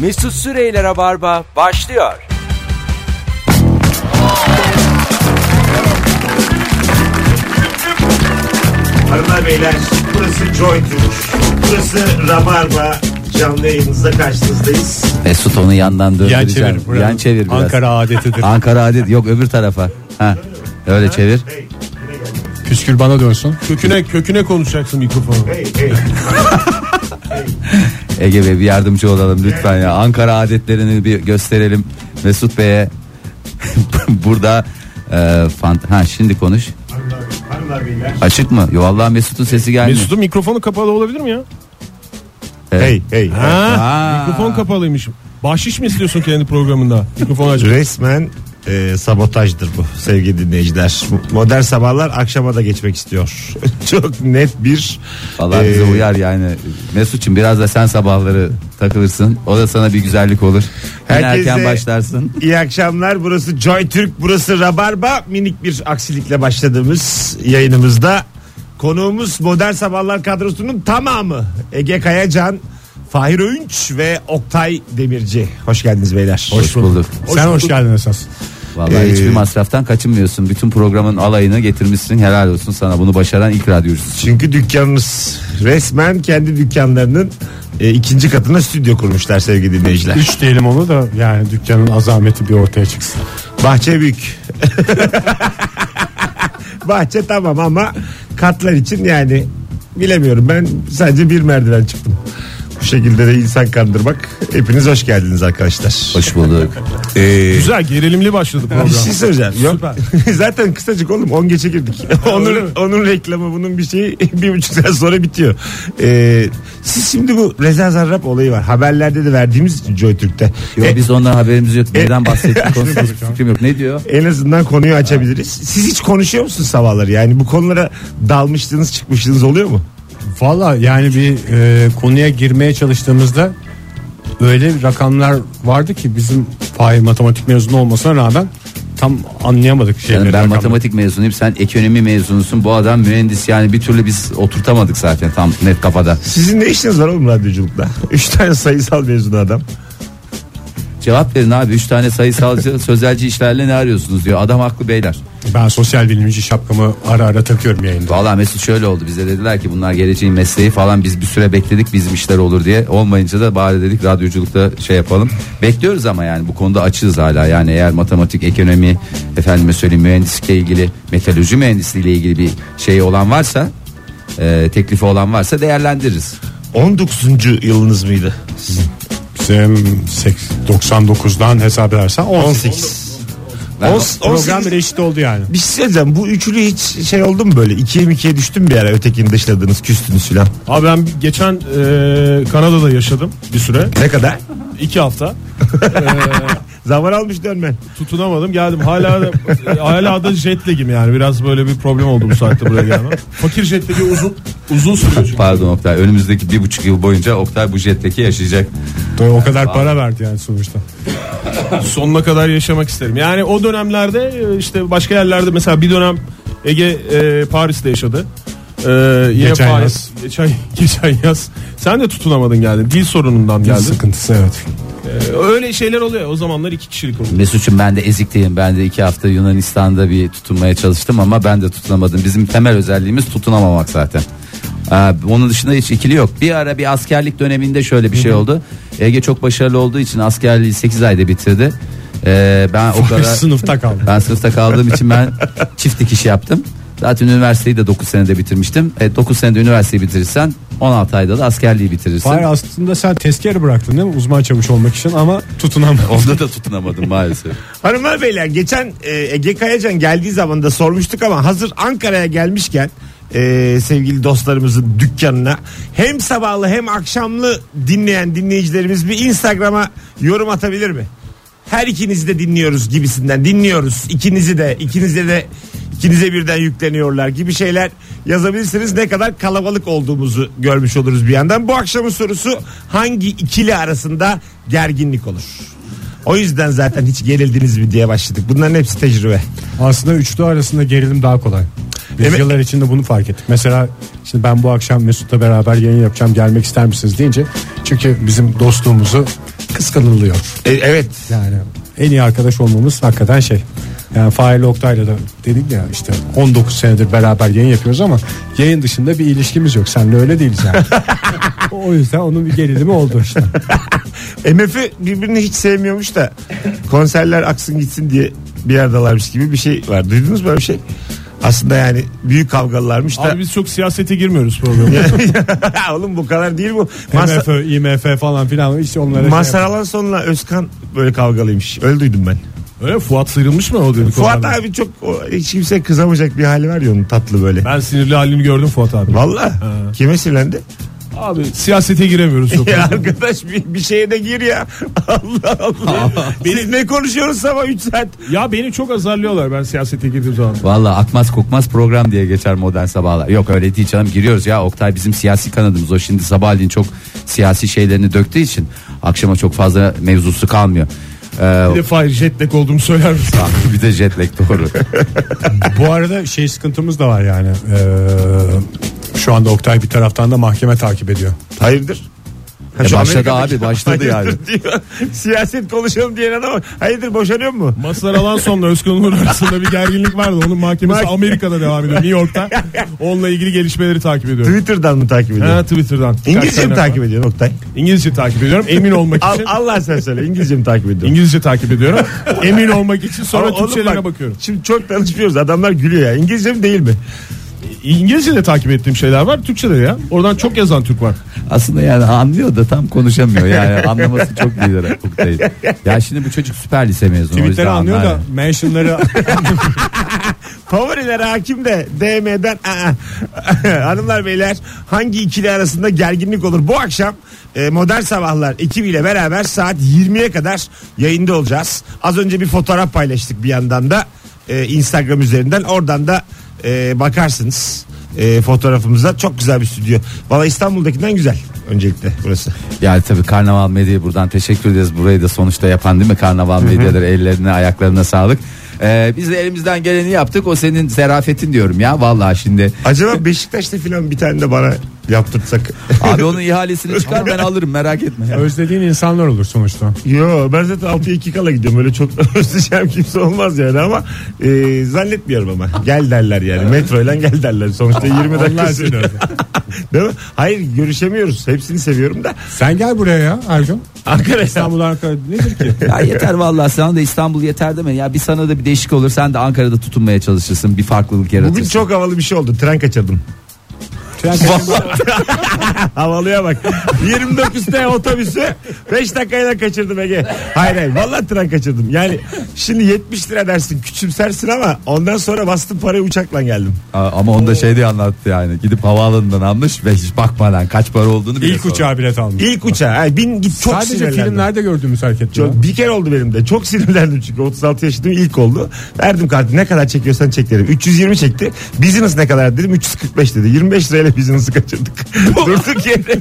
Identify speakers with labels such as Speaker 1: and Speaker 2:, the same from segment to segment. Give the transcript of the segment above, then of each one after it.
Speaker 1: Mesut Süreyler'e barba başlıyor.
Speaker 2: Hanımlar beyler burası Joy Türk. Burası Rabarba. Canlı yayınımızda karşınızdayız.
Speaker 3: Mesut onu yandan
Speaker 4: Yan
Speaker 3: döndüreceğim.
Speaker 4: çevir. buranın
Speaker 3: Yan çevir biraz.
Speaker 4: Ankara adetidir.
Speaker 3: Ankara adet yok öbür tarafa. Ha. Öyle çevir.
Speaker 2: Hey, yine geldi.
Speaker 4: Püskül bana dönsün.
Speaker 5: Köküne köküne konuşacaksın mikrofonu.
Speaker 2: Hey, hey.
Speaker 3: Ege Bey bir yardımcı olalım lütfen ya. Ankara adetlerini bir gösterelim. Mesut Bey'e burada e, fant ha şimdi konuş.
Speaker 2: Hanımlar, hanımlar beyler.
Speaker 3: Açık mı? Yo Allah Mesut'un sesi gelmiyor.
Speaker 5: Mesut'un mikrofonu kapalı olabilir mi ya?
Speaker 2: Hey, hey.
Speaker 5: Ha,
Speaker 3: Aa.
Speaker 5: mikrofon kapalıymış. Bahşiş mi istiyorsun kendi programında? Mikrofon aç.
Speaker 2: Resmen e, sabotajdır bu sevgili dinleyiciler. Modern sabahlar akşama da geçmek istiyor. Çok net bir
Speaker 3: Allah
Speaker 2: e,
Speaker 3: bize uyar yani. Mesut'cum biraz da sen sabahları takılırsın. O da sana bir güzellik olur. Herkese...
Speaker 2: Herkese-
Speaker 3: erken başlarsın.
Speaker 2: İyi akşamlar. Burası Joy Türk, burası Rabarba. Minik bir aksilikle başladığımız yayınımızda konuğumuz Modern Sabahlar kadrosunun tamamı. Ege Kayacan, Fahir Öğünç ve Oktay Demirci. Hoş geldiniz beyler.
Speaker 3: Hoş bulduk.
Speaker 4: Sen hoş geldin esas.
Speaker 3: Vallahi
Speaker 4: e,
Speaker 2: Ee,
Speaker 3: hiçbir masraftan kaçınmıyorsun. Bütün programın alayını getirmişsin. Helal olsun sana. Bunu başaran ilk radyocusun.
Speaker 2: Çünkü dükkanımız resmen kendi dükkanlarının e, ikinci katına stüdyo kurmuşlar sevgili dinleyiciler.
Speaker 4: Üç diyelim onu da yani dükkanın azameti bir ortaya çıksın.
Speaker 2: Bahçe büyük. Bahçe tamam ama katlar için yani bilemiyorum ben sadece bir merdiven çıktım. Bu şekilde de insan kandırmak. Hepiniz hoş geldiniz arkadaşlar.
Speaker 3: Hoş bulduk.
Speaker 5: Ee, Güzel gerilimli başladı program.
Speaker 2: Bir şey söyleyeceğim. Yok. Zaten kısacık oğlum 10 geçe girdik. onun, onun reklamı bunun bir şeyi bir buçuk saat sonra bitiyor. Ee, siz şimdi bu Reza Zarrab olayı var. Haberlerde de verdiğimiz için Joy Türk'te.
Speaker 3: Yo,
Speaker 2: E,
Speaker 3: biz ondan haberimiz yok. Neden bahsettiği konusunda hiçbir fikrim yok. Ne diyor?
Speaker 2: en azından konuyu açabiliriz. Siz hiç konuşuyor musunuz sabahları? Yani bu konulara dalmıştınız çıkmıştınız oluyor mu?
Speaker 4: Valla yani bir e, konuya girmeye çalıştığımızda öyle bir rakamlar vardı ki bizim Fahir matematik mezunu olmasına rağmen tam anlayamadık şeyleri.
Speaker 3: Yani ben
Speaker 4: rakamları.
Speaker 3: matematik mezunuyum. Sen ekonomi mezunusun. Bu adam mühendis. Yani bir türlü biz oturtamadık zaten tam net kafada.
Speaker 2: Sizin ne işiniz var oğlum radyoculukta? Üç tane sayısal mezunu adam.
Speaker 3: Cevap verin abi. Üç tane sayısalcı sözelci işlerle ne arıyorsunuz diyor. Adam haklı beyler.
Speaker 4: Ben sosyal bilimci şapkamı ara ara takıyorum yayında.
Speaker 3: Valla Mesut şöyle oldu. Bize dediler ki bunlar geleceğin mesleği falan. Biz bir süre bekledik bizim işler olur diye. Olmayınca da bari dedik radyoculukta şey yapalım. Bekliyoruz ama yani bu konuda açığız hala. Yani eğer matematik, ekonomi, efendime söyleyeyim mühendislikle ilgili, metalürji mühendisliğiyle ilgili bir şey olan varsa... E, teklifi olan varsa değerlendiririz.
Speaker 2: 19. yılınız mıydı? Sizin.
Speaker 4: Bizim seks- 99'dan hesap edersen
Speaker 2: 18.
Speaker 3: Ben-
Speaker 2: On-
Speaker 4: Program bile eşit oldu yani.
Speaker 2: Bir şey söyleyeceğim. Bu üçlü hiç şey oldu mu böyle? İkiye mi ikiye düştüm bir ara ötekini dışladınız küstünüz filan.
Speaker 5: Abi ben geçen e, Kanada'da yaşadım bir süre.
Speaker 2: Ne kadar?
Speaker 5: iki hafta.
Speaker 4: E,
Speaker 2: Zaman almış dönmen.
Speaker 5: Tutunamadım geldim. Hala da, e, hala da jet lag'im yani. Biraz böyle bir problem oldu bu saatte buraya gelmem. Fakir jet lag'i uzun uzun sürüyor çünkü.
Speaker 3: Pardon Oktay önümüzdeki bir buçuk yıl boyunca Oktay bu jetteki yaşayacak.
Speaker 4: Doğru, o kadar para verdi yani sonuçta.
Speaker 5: sonuna kadar yaşamak isterim. Yani o dönemlerde e, işte başka yerlerde mesela bir dönem Ege e, Paris'te yaşadı. E, yine
Speaker 4: Geçen
Speaker 5: Paris,
Speaker 4: yaz.
Speaker 5: Geçen, geçen yaz. Sen de tutunamadın geldin. Dil sorunundan
Speaker 4: Dil
Speaker 5: geldin.
Speaker 4: sıkıntısı evet.
Speaker 5: E, öyle şeyler oluyor. O zamanlar iki kişilik oluyor.
Speaker 3: Mesut'cum ben de ezikteyim. Ben de iki hafta Yunanistan'da bir tutunmaya çalıştım ama ben de tutunamadım. Bizim temel özelliğimiz tutunamamak zaten. Ee, onun dışında hiç ikili yok. Bir ara bir askerlik döneminde şöyle bir şey oldu. Ege çok başarılı olduğu için askerliği 8 ayda bitirdi. Ee, ben o kadar
Speaker 4: Sınıfta kaldı.
Speaker 3: ben sınıfta kaldığım için ben çift dikiş yaptım. Zaten üniversiteyi de 9 senede bitirmiştim. E, 9 senede üniversiteyi bitirirsen 16 ayda da askerliği bitirirsin.
Speaker 4: Fahir aslında sen tezkere bıraktın değil mi? Uzman çavuş olmak için ama tutunamadın.
Speaker 3: Onda da tutunamadım maalesef.
Speaker 2: Hanımlar beyler geçen e, Ege Kayacan geldiği zaman da sormuştuk ama hazır Ankara'ya gelmişken e, sevgili dostlarımızın dükkanına hem sabahlı hem akşamlı dinleyen dinleyicilerimiz bir Instagram'a yorum atabilir mi? Her ikinizi de dinliyoruz gibisinden dinliyoruz ikinizi de ikinize de ikinize birden yükleniyorlar gibi şeyler yazabilirsiniz. Ne kadar kalabalık olduğumuzu görmüş oluruz bir yandan. Bu akşamın sorusu hangi ikili arasında gerginlik olur? O yüzden zaten hiç gerildiniz mi diye başladık. Bunların hepsi tecrübe.
Speaker 4: Aslında üçlü arasında gerilim daha kolay. Biz
Speaker 2: Evet.
Speaker 4: yıllar içinde bunu fark ettik. Mesela şimdi ben bu akşam Mesut'la beraber yayın yapacağım gelmek ister misiniz deyince. Çünkü bizim dostluğumuzu kıskanılıyor.
Speaker 2: E, evet.
Speaker 4: Yani en iyi arkadaş olmamız hakikaten şey. Yani Fahir Oktay'la da dedik ya işte 19 senedir beraber yayın yapıyoruz ama yayın dışında bir ilişkimiz yok. Senle öyle değiliz yani. o yüzden onun bir gerilimi oldu işte.
Speaker 2: MF'i birbirini hiç sevmiyormuş da konserler aksın gitsin diye bir yerdalarmış gibi bir şey var. Duydunuz mu böyle bir şey? Aslında yani büyük kavgalılarmış da.
Speaker 5: Abi biz çok siyasete girmiyoruz programda.
Speaker 2: Oğlum bu kadar değil bu.
Speaker 5: şey
Speaker 2: Masa,
Speaker 4: MFÖ, IMF falan filan işte onlara şey yap-
Speaker 2: Masalan sonuna Özkan böyle kavgalıymış. Öyle duydum ben.
Speaker 5: Öyle Fuat sıyrılmış mı o dedi.
Speaker 2: Fuat abi çok o- hiç kimse kızamayacak bir hali var ya onun tatlı böyle.
Speaker 5: Ben sinirli halini gördüm Fuat abi.
Speaker 2: Valla kime sinirlendi?
Speaker 5: Abi siyasete giremiyoruz çok.
Speaker 2: Ya arkadaş bir, bir şeye de gir ya. Allah Allah. Siz ne konuşuyoruz sabah 3 saat?
Speaker 5: ya beni çok azarlıyorlar ben siyasete girdiğim zaman.
Speaker 3: Valla akmaz kokmaz program diye geçer modern sabahlar. Yok öyle değil canım giriyoruz ya Oktay bizim siyasi kanadımız o şimdi sabahleyin çok siyasi şeylerini döktüğü için akşama çok fazla mevzusu kalmıyor. Ee,
Speaker 5: Bir de Fahir jetlag olduğumu söyler misin?
Speaker 3: bir de jet lag doğru.
Speaker 4: Bu arada şey sıkıntımız da var yani. Ee, şu anda Oktay bir taraftan da mahkeme takip ediyor.
Speaker 2: Hayırdır? Ha,
Speaker 3: E
Speaker 2: şu
Speaker 3: başladı
Speaker 2: Amerika'daki-
Speaker 3: abi, başladı yani.
Speaker 2: Hayırdır diyor. Siyaset konuşalım diyen adam hayırdır boşanıyor mu?
Speaker 5: Mazhar Alanson Özkan Uğur arasında bir gerginlik vardı. Onun mahkemesi Amerika'da devam ediyor. New York'ta. Onunla ilgili gelişmeleri takip ediyorum.
Speaker 2: Twitter'dan mı takip ediyorsun?
Speaker 5: Ha, Twitter'dan.
Speaker 2: İngilizce mi
Speaker 5: Kaç
Speaker 2: takip ediyorsun Oktay?
Speaker 5: tane- İngilizce takip ediyorum. Emin olmak
Speaker 2: Al-
Speaker 5: için.
Speaker 2: Allah sen söyle İngilizce mi takip ediyorsun?
Speaker 5: İngilizce takip ediyorum. Emin olmak için sonra
Speaker 2: Ama oğlum
Speaker 5: Türkçelerine
Speaker 2: bak,
Speaker 5: bakıyorum.
Speaker 2: Şimdi çok tanışmıyoruz adamlar gülüyor ya İngilizce mi değil mi?
Speaker 5: İngilizce de takip ettiğim şeyler var. Türkçe de ya. Oradan çok yazan Türk var.
Speaker 3: Aslında yani anlıyor da tam konuşamıyor yani anlaması çok lider Oktay'ın. Ya şimdi bu çocuk süper lise mezunu. o yüzden
Speaker 4: Twitter'ı anlıyor
Speaker 3: anlar
Speaker 4: da mentionları
Speaker 2: Favoriler hakim de DM'den aa. hanımlar beyler hangi ikili arasında gerginlik olur? Bu akşam e, Modern Sabahlar ekibiyle beraber saat 20'ye kadar yayında olacağız. Az önce bir fotoğraf paylaştık bir yandan da e, Instagram üzerinden oradan da e, bakarsınız e, fotoğrafımıza. Çok güzel bir stüdyo. Valla İstanbul'dakinden güzel öncelikle burası.
Speaker 3: Yani tabii Karnaval Medya'ya buradan teşekkür ederiz. Burayı da sonuçta yapan değil mi Karnaval Medya'dır. Ellerine ayaklarına sağlık. Ee, biz de elimizden geleni yaptık. O senin zerafetin diyorum ya. Vallahi şimdi
Speaker 2: Acaba Beşiktaş'ta filan bir tane de bana yaptırtsak.
Speaker 3: abi onun ihalesini çıkar ben alırım merak etme.
Speaker 4: özlediğin insanlar olur sonuçta.
Speaker 2: Yo ben zaten 6'ya 2 kala gidiyorum öyle çok özleyeceğim kimse olmaz yani ama e, zannetmiyorum ama gel derler yani metroyla gel derler sonuçta 20 dakika
Speaker 4: Allah
Speaker 2: sürüyor. Değil mi? Hayır görüşemiyoruz hepsini seviyorum da
Speaker 4: Sen gel buraya ya Ergun.
Speaker 2: Ankara İstanbul
Speaker 4: İstanbul Ankara nedir ki?
Speaker 3: Ya yeter vallahi sana da İstanbul yeter deme. Ya bir sana da bir değişik olur. Sen de Ankara'da tutunmaya çalışırsın. Bir farklılık yaratırsın.
Speaker 2: Bugün çok havalı bir şey oldu tren kaçırdım
Speaker 4: Tren-
Speaker 2: Havalıya bak 29'te otobüsü 5 dakikayla kaçırdım Ege Hayır hayır valla tren kaçırdım Yani şimdi 70 lira dersin küçümsersin ama Ondan sonra bastım parayı uçakla geldim
Speaker 3: Aa, Ama onda şey diye anlattı yani. Gidip havaalanından almış ve hiç bakmadan kaç para olduğunu bile
Speaker 4: İlk
Speaker 3: sormadı.
Speaker 4: uçağa bilet almış.
Speaker 2: İlk uçağa ay, bin git çok
Speaker 4: Sadece
Speaker 2: sinirlendim.
Speaker 4: filmlerde gördüğümüz hareket. ya.
Speaker 2: Çok, bir kere oldu benim de. Çok sinirlendim çünkü 36 yaşındayım ilk oldu. Verdim kartı ne kadar çekiyorsan çek dedim. 320 çekti. Business ne kadar dedim 345 dedi. 25 lirayla business'ı kaçırdık. Durduk yere.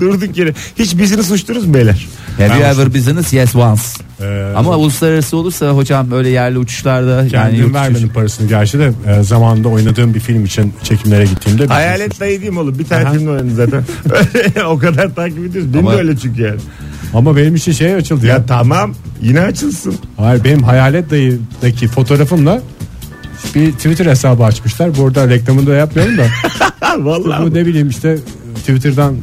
Speaker 2: Durduk yere. Hiç business uçtunuz mu beyler?
Speaker 3: Have you ever business? Yes once.
Speaker 4: Ee,
Speaker 3: Ama uluslararası olursa hocam öyle yerli uçuşlarda yani
Speaker 4: Kendim
Speaker 3: yurt
Speaker 4: vermedim
Speaker 3: uçuşu-
Speaker 4: parasını gerçi de e, zamanında oynadığım bir film için çekimlere gittiğimde bir-
Speaker 2: Hayalet dayı diyeyim oğlum. Bir tane film oynadı zaten. o kadar takip ediyoruz. Benim
Speaker 3: Ama-
Speaker 2: de öyle çünkü yani.
Speaker 4: Ama benim için şey açıldı ya.
Speaker 2: Ya tamam yine açılsın.
Speaker 4: Hayır benim Hayalet Dayı'daki fotoğrafımla bir Twitter hesabı açmışlar. Bu arada reklamını da yapmıyorum da.
Speaker 2: Ha,
Speaker 4: Bu
Speaker 2: vallahi.
Speaker 4: ne bileyim işte Twitter'dan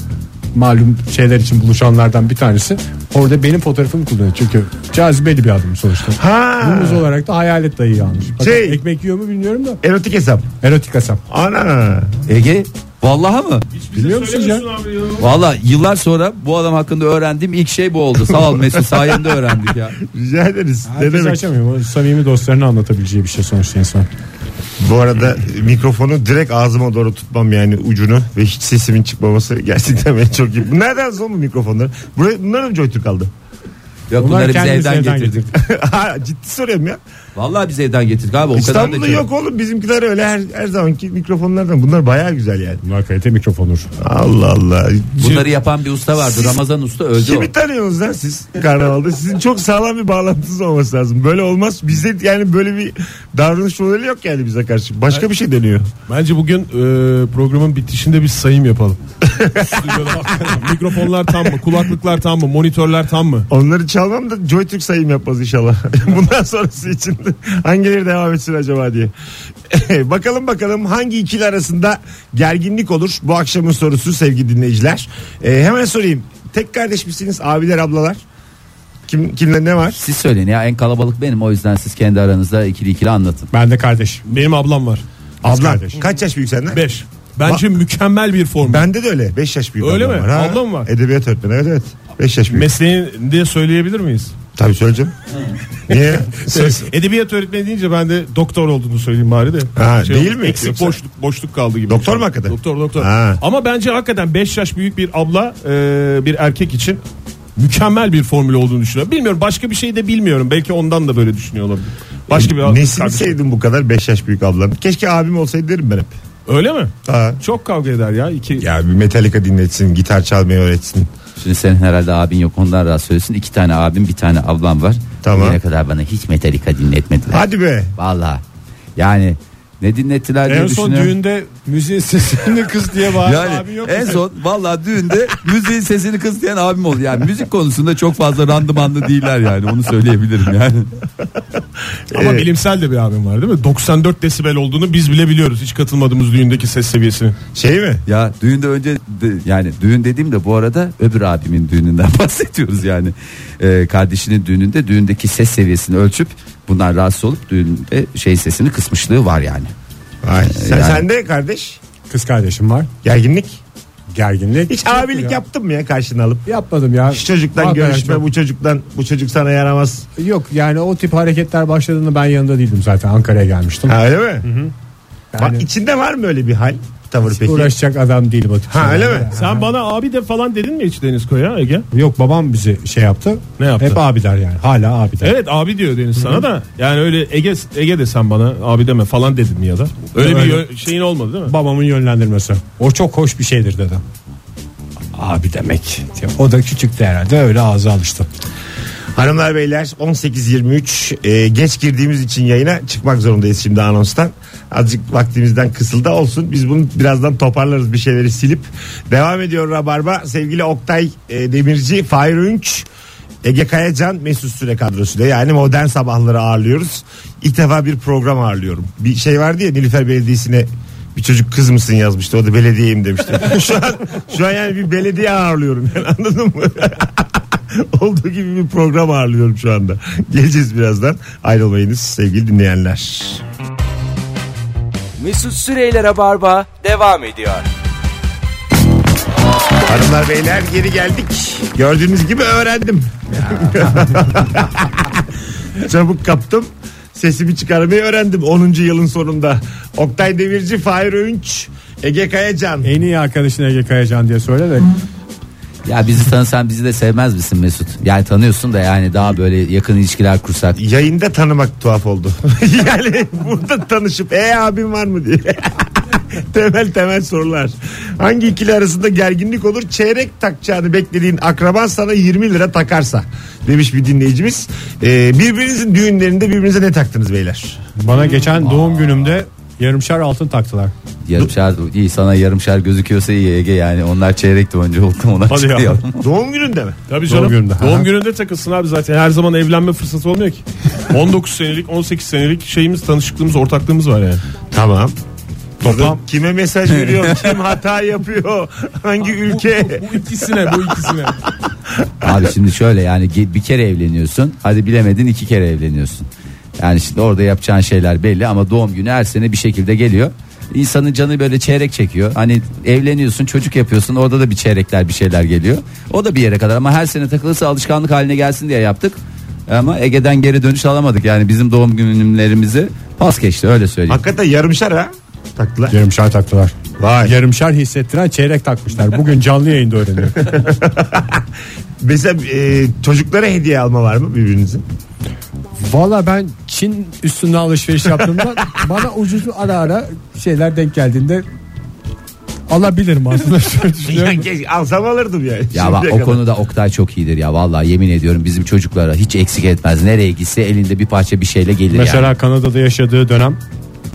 Speaker 4: malum şeyler için buluşanlardan bir tanesi. Orada benim fotoğrafımı kullanıyor. Çünkü cazibeli bir adam sonuçta.
Speaker 2: Ha.
Speaker 4: Yunus olarak da Hayalet Dayı'yı almış. Fakat
Speaker 2: Şey-
Speaker 4: Ekmek yiyor mu bilmiyorum da.
Speaker 2: Erotik hesap.
Speaker 4: Erotik hesap.
Speaker 2: Ana.
Speaker 3: Ege vallahi mı?
Speaker 5: şey
Speaker 4: Biliyor musunuz ya?
Speaker 3: Vallahi yıllar sonra bu adam hakkında öğrendiğim ilk şey bu oldu. Sağ ol Mesut sayende öğrendik ya.
Speaker 2: Rica ederiz. Ne
Speaker 4: Herkes
Speaker 2: demek?
Speaker 4: açamıyor. O samimi dostlarına anlatabileceği bir şey sonuçta insan.
Speaker 2: Bu arada mikrofonu direkt ağzıma doğru tutmam yani ucunu ve hiç sesimin çıkmaması gerçekten beni çok iyi. Bu Nereden son bu mikrofonları? Buraya, bunlar önce Joytürk aldı.
Speaker 3: Yok bunları biz
Speaker 4: kendimiz
Speaker 3: evden getirdik.
Speaker 2: Ha, Ciddi soruyorum ya.
Speaker 3: Vallahi biz evden getirdik abi. O kadar
Speaker 2: İstanbul'da
Speaker 3: da çok-
Speaker 2: yok oğlum bizimkiler öyle her, her zamanki mikrofonlardan bunlar baya güzel yani.
Speaker 4: Bunlar kalite mikrofonur.
Speaker 2: Allah Allah.
Speaker 3: Bunları yapan bir usta vardı.
Speaker 2: Siz-
Speaker 3: Ramazan usta öldü o.
Speaker 2: Kimi tanıyorsunuz lan siz karnavalda? Sizin çok sağlam bir bağlantınız olması lazım. Böyle olmaz. Bizde yani böyle bir davranış modeli yok yani bize karşı. Başka bir şey deniyor.
Speaker 5: Bence bugün e, programın bitişinde bir sayım yapalım. Stüdyoda hakikaten Mikrofonlar tam mı? Kulaklıklar tam mı? Monitörler tam mı?
Speaker 2: Onları çalmam da Joytürk sayım yapmaz inşallah. Bundan sonrası için hangileri devam etsin acaba diye. bakalım bakalım hangi ikili arasında gerginlik olur bu akşamın sorusu sevgili dinleyiciler. Ee, hemen sorayım. Tek kardeş misiniz abiler ablalar? Kim, kimle ne var?
Speaker 3: Siz söyleyin ya en kalabalık benim o yüzden siz kendi aranızda ikili ikili anlatın.
Speaker 4: Ben de kardeş.
Speaker 5: Benim ablam var.
Speaker 2: Ablan.
Speaker 4: kardeş.
Speaker 2: Kaç yaş büyük senden?
Speaker 5: 5. Bence mükemmel bir form.
Speaker 2: Bende de öyle. 5 yaş büyük
Speaker 5: Öyle
Speaker 2: ablam
Speaker 5: mi?
Speaker 2: var. Ha.
Speaker 5: Ablam var.
Speaker 2: Edebiyat öğretmeni evet evet. 5 yaş büyük.
Speaker 5: Mesleğini de söyleyebilir miyiz?
Speaker 2: Tabii söyleyeceğim. Niye? Söz.
Speaker 5: Edebiyat öğretmeni deyince ben de doktor olduğunu söyleyeyim bari de. Şey
Speaker 2: Ha, değil mi?
Speaker 5: Eksik
Speaker 2: Yoksa-
Speaker 5: boşluk, boşluk kaldı gibi.
Speaker 2: Doktor mu hakikaten?
Speaker 5: Doktor doktor.
Speaker 2: Ha.
Speaker 5: Ama bence hakikaten 5 yaş büyük bir abla e, bir erkek için mükemmel bir formül olduğunu düşünüyorum. Bilmiyorum başka bir şey de bilmiyorum. Belki ondan da böyle düşünüyor olabilir. Başka bir
Speaker 2: E, Nesini
Speaker 5: kardeşim.
Speaker 2: sevdim bu kadar 5 yaş büyük ablam. Keşke abim olsaydı derim ben hep.
Speaker 5: Öyle mi?
Speaker 2: Ha.
Speaker 5: Çok kavga eder ya iki.
Speaker 2: Ya bir Metallica dinletsin, gitar çalmayı öğretsin.
Speaker 3: Şimdi senin herhalde abin yok ondan rahatsız söylüyorsun. İki tane abim bir tane ablam var.
Speaker 2: Tamam.
Speaker 3: Bugüne kadar bana hiç Metallica dinletmediler.
Speaker 2: Hadi be.
Speaker 3: Vallahi yani ne dinlettiler diye
Speaker 4: En son
Speaker 3: düşünüyorum.
Speaker 4: düğünde müziğin sesini kız diye bağırdı.
Speaker 3: Yani
Speaker 4: Abi yok
Speaker 3: en
Speaker 4: mu?
Speaker 3: son vallahi düğünde müziğin sesini kısıtlayan abim oldu. Yani müzik konusunda çok fazla randımanlı değiller yani onu söyleyebilirim yani.
Speaker 5: Ama
Speaker 2: Evet.
Speaker 5: bilimsel de bir abim var değil mi? 94 desibel olduğunu biz bile biliyoruz. Hiç katılmadığımız düğündeki ses seviyesini.
Speaker 2: Şey mi?
Speaker 3: Ya düğünde önce de- yani düğün dediğimde bu arada öbür abimin düğününden bahsediyoruz yani. Ee, kardeşinin düğününde düğündeki ses seviyesini ölçüp bundan rahatsız olup düğünde şey sesini kısmışlığı var yani.
Speaker 2: Ay, sen,
Speaker 3: Yani-
Speaker 2: sen de kardeş.
Speaker 4: Kız kardeşim var.
Speaker 2: Gerginlik.
Speaker 4: Gerginlik.
Speaker 2: Hiç
Speaker 4: Yok
Speaker 2: abilik
Speaker 4: ya.
Speaker 2: yaptın mı ya karşını alıp?
Speaker 4: Yapmadım ya.
Speaker 2: Şu çocuktan
Speaker 4: Hakikaten
Speaker 2: görüşme,
Speaker 4: çok-
Speaker 2: bu çocuktan, bu çocuk sana yaramaz.
Speaker 4: Yok yani o tip hareketler başladığında ben yanında değildim zaten Ankara'ya gelmiştim.
Speaker 2: Ha öyle mi?
Speaker 4: Yani-
Speaker 2: Bak içinde var mı öyle bir hal? Tavır peki.
Speaker 4: Uğraşacak adam değil Batı.
Speaker 2: Ha öyle mi?
Speaker 5: Sen bana abi de falan dedin mi hiç Deniz Koya Ege?
Speaker 4: Yok babam bizi şey yaptı.
Speaker 5: Ne yaptı?
Speaker 4: Hep abi der yani. Hala abi der.
Speaker 5: Evet abi diyor Deniz sana da. Yani öyle Ege Ege de sen bana abi deme falan dedin mi ya da? Öyle bir
Speaker 4: Öyle.
Speaker 5: yö- şeyin olmadı değil mi?
Speaker 4: Babamın yönlendirmesi. O çok hoş bir şeydir dedi. Abi demek. O da küçüktü herhalde öyle ağza alıştı.
Speaker 2: Hanımlar beyler 18.23 e, geç girdiğimiz için yayına çıkmak zorundayız şimdi anonstan. Azıcık vaktimizden kısıldı olsun. Biz bunu birazdan toparlarız bir şeyleri silip. Devam ediyor Rabarba. Sevgili Oktay e, Demirci, Fahir Ünç, Ege Kayacan, Mesut Süre kadrosuyla yani modern sabahları ağırlıyoruz. İlk defa bir program ağırlıyorum. Bir şey vardı ya Nilüfer Belediyesi'ne bir çocuk kız mısın yazmıştı. O da belediyeyim demişti. şu an şu an yani bir belediye ağırlıyorum. Yani anladın mı? Olduğu gibi bir program ağırlıyorum şu anda. Geleceğiz birazdan. Ayrılmayınız sevgili dinleyenler.
Speaker 1: Mesut Süreyler'e barba devam ediyor.
Speaker 2: Hanımlar beyler geri geldik. Gördüğünüz gibi öğrendim. Çabuk kaptım. Sesimi çıkarmayı öğrendim 10. yılın sonunda. Oktay Demirci, Fahir Öğünç, Ege Kayacan.
Speaker 4: En iyi arkadaşın Ege Kayacan diye söyle de.
Speaker 3: Ya bizi tanısan bizi de sevmez misin Mesut? Yani tanıyorsun da yani daha böyle yakın ilişkiler kursak.
Speaker 2: Yayında tanımak tuhaf oldu. yani burada tanışıp e abim var mı diye. temel temel sorular. Hangi ikili arasında gerginlik olur? Çeyrek takacağını beklediğin akraban sana 20 lira takarsa demiş bir dinleyicimiz. Ee, birbirinizin düğünlerinde birbirinize ne taktınız beyler?
Speaker 4: Bana geçen doğum günümde yarımşar altın taktılar.
Speaker 3: Yarımşar iyi sana yarımşar gözüküyorsa iyi Ege yani onlar çeyrek de önce oldu onlar
Speaker 4: Hadi
Speaker 3: çıktı
Speaker 4: ya.
Speaker 3: ya.
Speaker 2: Doğum gününde mi?
Speaker 5: Tabii
Speaker 4: Doğum
Speaker 5: canım. Doğum gününde,
Speaker 4: gününde. Ha.
Speaker 5: takılsın abi zaten. Her zaman evlenme fırsatı olmuyor ki. 19 senelik 18 senelik şeyimiz tanışıklığımız ortaklığımız var yani.
Speaker 2: Tamam. Toplam. Kime mesaj veriyor? Kim hata yapıyor? Hangi ülke?
Speaker 5: Bu ikisine bu ikisine.
Speaker 3: Abi şimdi şöyle yani ge- bir kere evleniyorsun. Hadi bilemedin iki kere evleniyorsun. Yani şimdi orada yapacağın şeyler belli ama doğum günü her sene bir şekilde geliyor. İnsanın canı böyle çeyrek çekiyor. Hani evleniyorsun, çocuk yapıyorsun. Orada da bir çeyrekler bir şeyler geliyor. O da bir yere kadar ama her sene takılırsa alışkanlık haline gelsin diye yaptık. Ama Ege'den geri dönüş alamadık. Yani bizim doğum günlerimizi pas geçti öyle söyleyeyim.
Speaker 2: Hakikaten yarımşar ha. Taktılar.
Speaker 4: Yarımşar taktılar.
Speaker 2: Vay.
Speaker 4: Yarımşar hissettiren çeyrek takmışlar. Bugün canlı yayında öğreniyor.
Speaker 2: Mesela e, çocuklara hediye alma var mı birbirinizin?
Speaker 4: Valla ben Çin üstünden alışveriş yaptığımda bana ucuz ara ara şeyler denk geldiğinde alabilirim aslında. Şöyle
Speaker 2: Ya,
Speaker 4: düşünüyorum.
Speaker 2: keşke alsam alırdım yani.
Speaker 3: Ya bak,
Speaker 2: Şimdiye kadar.
Speaker 3: o konuda Oktay çok iyidir ya vallahi yemin ediyorum bizim çocuklara hiç eksik etmez. Nereye gitse elinde bir parça bir şeyle gelir yani.
Speaker 4: Mesela Kanada'da yaşadığı dönem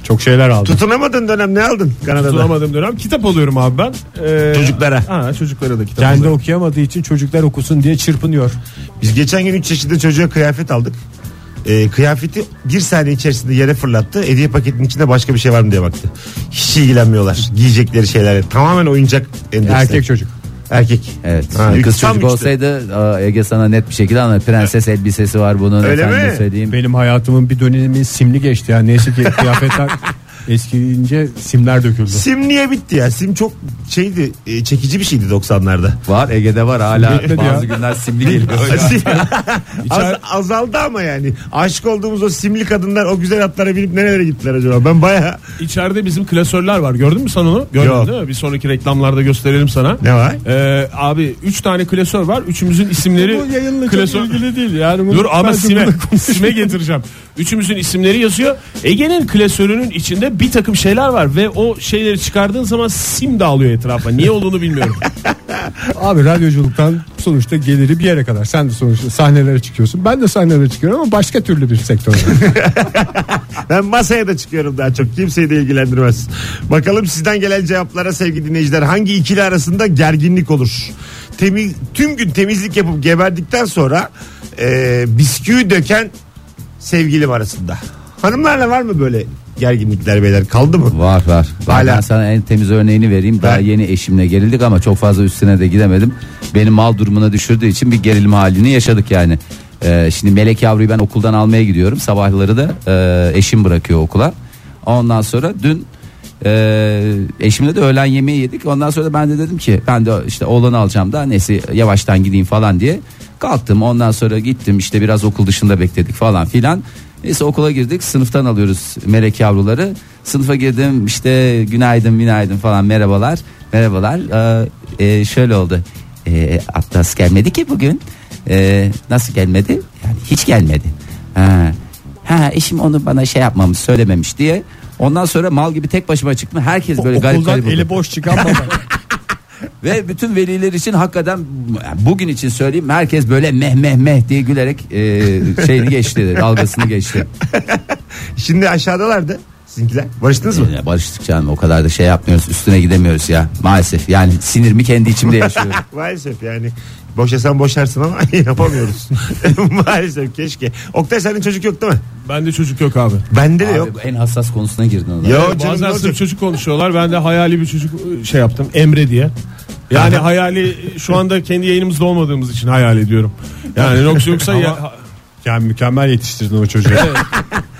Speaker 4: çok şeyler aldı.
Speaker 2: Tutunamadığın dönem ne aldın Kanada'da?
Speaker 5: Tutamadığım dönem kitap alıyorum abi ben. Ee,
Speaker 2: Çocuklara.
Speaker 5: Ha, çocuklara da kitap
Speaker 4: Kendi
Speaker 5: alıyorum.
Speaker 4: okuyamadığı için çocuklar okusun diye çırpınıyor.
Speaker 2: Biz geçen gün 3 çeşitli çocuğa kıyafet aldık. Ee, kıyafeti bir saniye içerisinde yere fırlattı. Hediye paketinin içinde başka bir şey var mı diye baktı. Hiç ilgilenmiyorlar. Giyecekleri şeylerle. Tamamen oyuncak endeksli.
Speaker 4: Erkek çocuk.
Speaker 2: Erkek.
Speaker 3: Evet.
Speaker 2: Ha,
Speaker 3: Kız
Speaker 2: üç- tam
Speaker 3: çocuk
Speaker 2: üçtü.
Speaker 3: olsaydı aa, Ege sana net bir şekilde anlatır. Prenses elbisesi var bunun.
Speaker 2: Öyle
Speaker 3: efendim
Speaker 2: mi?
Speaker 3: söyleyeyim.
Speaker 4: Benim hayatımın bir dönemi simli geçti. Yani neyse ki kıyafetler eskiyince simler döküldü.
Speaker 2: Sim niye bitti ya? Sim çok şeydi e, çekici bir şeydi 90'larda.
Speaker 3: Var Ege'de var hala
Speaker 4: Bitmedi
Speaker 3: bazı
Speaker 4: ya.
Speaker 3: günler simli geliyor.
Speaker 2: Sim- Az, azaldı ama yani. Aşık olduğumuz o simli kadınlar o güzel atlara binip nerelere gittiler acaba? Ben baya
Speaker 5: İçeride bizim klasörler var. Gördün mü sen onu? Gördün
Speaker 2: Yok.
Speaker 5: değil mi? Bir sonraki reklamlarda gösterelim sana.
Speaker 2: ne var?
Speaker 5: Ee, abi 3 tane klasör var. Üçümüzün isimleri
Speaker 4: E, Bu yayınla çok ilgili
Speaker 5: değil. Yani Dur ama sime, sime getireceğim. Üçümüzün isimleri yazıyor. Ege'nin klasörünün içinde bir takım şeyler var ve o şeyleri çıkardığın zaman sim dağılıyor etrafa. Niye olduğunu bilmiyorum.
Speaker 4: Abi radyoculuktan sonuçta geliri bir yere kadar. Sen de sonuçta sahnelere çıkıyorsun. Ben de sahnelere çıkıyorum ama başka türlü bir sektörde.
Speaker 2: Ben masaya da çıkıyorum daha çok. Kimseyi de ilgilendirmez. Bakalım sizden gelen cevaplara sevgili dinleyiciler. Hangi ikili arasında gerginlik olur? Temiz, tüm gün temizlik yapıp geberdikten sonra e, bisküvi döken sevgilim arasında. Hanımlarla var mı böyle gerginlikler beyler? Kaldı mı?
Speaker 3: Var var. Var.
Speaker 2: Hala.
Speaker 3: Ben sana en temiz örneğini vereyim. Daha
Speaker 2: Ver.
Speaker 3: yeni eşimle gerildik ama çok fazla üstüne de gidemedim. Beni mal durumuna düşürdüğü için bir gerilim halini yaşadık yani. Ee, şimdi Melek yavruyu ben okuldan almaya gidiyorum. Sabahları da e, eşim bırakıyor okula. Ondan sonra dün e, eşimle de öğlen yemeği yedik. Ondan sonra ben de dedim ki ben de işte oğlanı alacağım da neyse yavaştan gideyim falan diye. Kalktım ondan sonra gittim işte biraz okul dışında bekledik falan filan. Neyse okula girdik sınıftan alıyoruz melek yavruları. Sınıfa girdim işte günaydın günaydın falan merhabalar. Merhabalar Ee, e, şöyle oldu. Ee, Atlas gelmedi ki bugün. Ee, nasıl gelmedi? Yani hiç gelmedi. Ha. ha eşim onu bana şey yapmamış söylememiş diye. Ondan sonra mal gibi tek başıma çıktım. Herkes böyle garip
Speaker 4: Okuldan
Speaker 3: garip oldu.
Speaker 4: eli boş çıkan baba.
Speaker 3: Ve bütün veliler için hakikaten bugün için söyleyeyim herkes böyle meh meh meh diye gülerek e, şeyini geçti dalgasını geçti.
Speaker 2: Şimdi aşağıdalardı sizinkiler. Barıştınız mı?
Speaker 3: Ya barıştık canım o kadar da şey yapmıyoruz üstüne gidemiyoruz ya maalesef yani sinirimi kendi içimde yaşıyorum.
Speaker 2: Maalesef yani. Boşasan boşarsın ama yapamıyoruz. Maalesef keşke. Oktay senin çocuk yok değil mi?
Speaker 5: Bende çocuk yok abi.
Speaker 2: Bende de
Speaker 3: Abi,
Speaker 2: yok.
Speaker 3: bu en hassas konusuna girdin ona.
Speaker 2: Yo, canım, ne
Speaker 5: Bazen
Speaker 2: olacak?
Speaker 5: sırf çocuk konuşuyorlar. Ben de hayali bir çocuk şey yaptım. Emre diye. Yani hayali şu anda kendi yayınımızda olmadığımız için hayal ediyorum. Yani yoksa yoksa ya,
Speaker 4: Yani mükemmel yetiştirdin o çocuğu.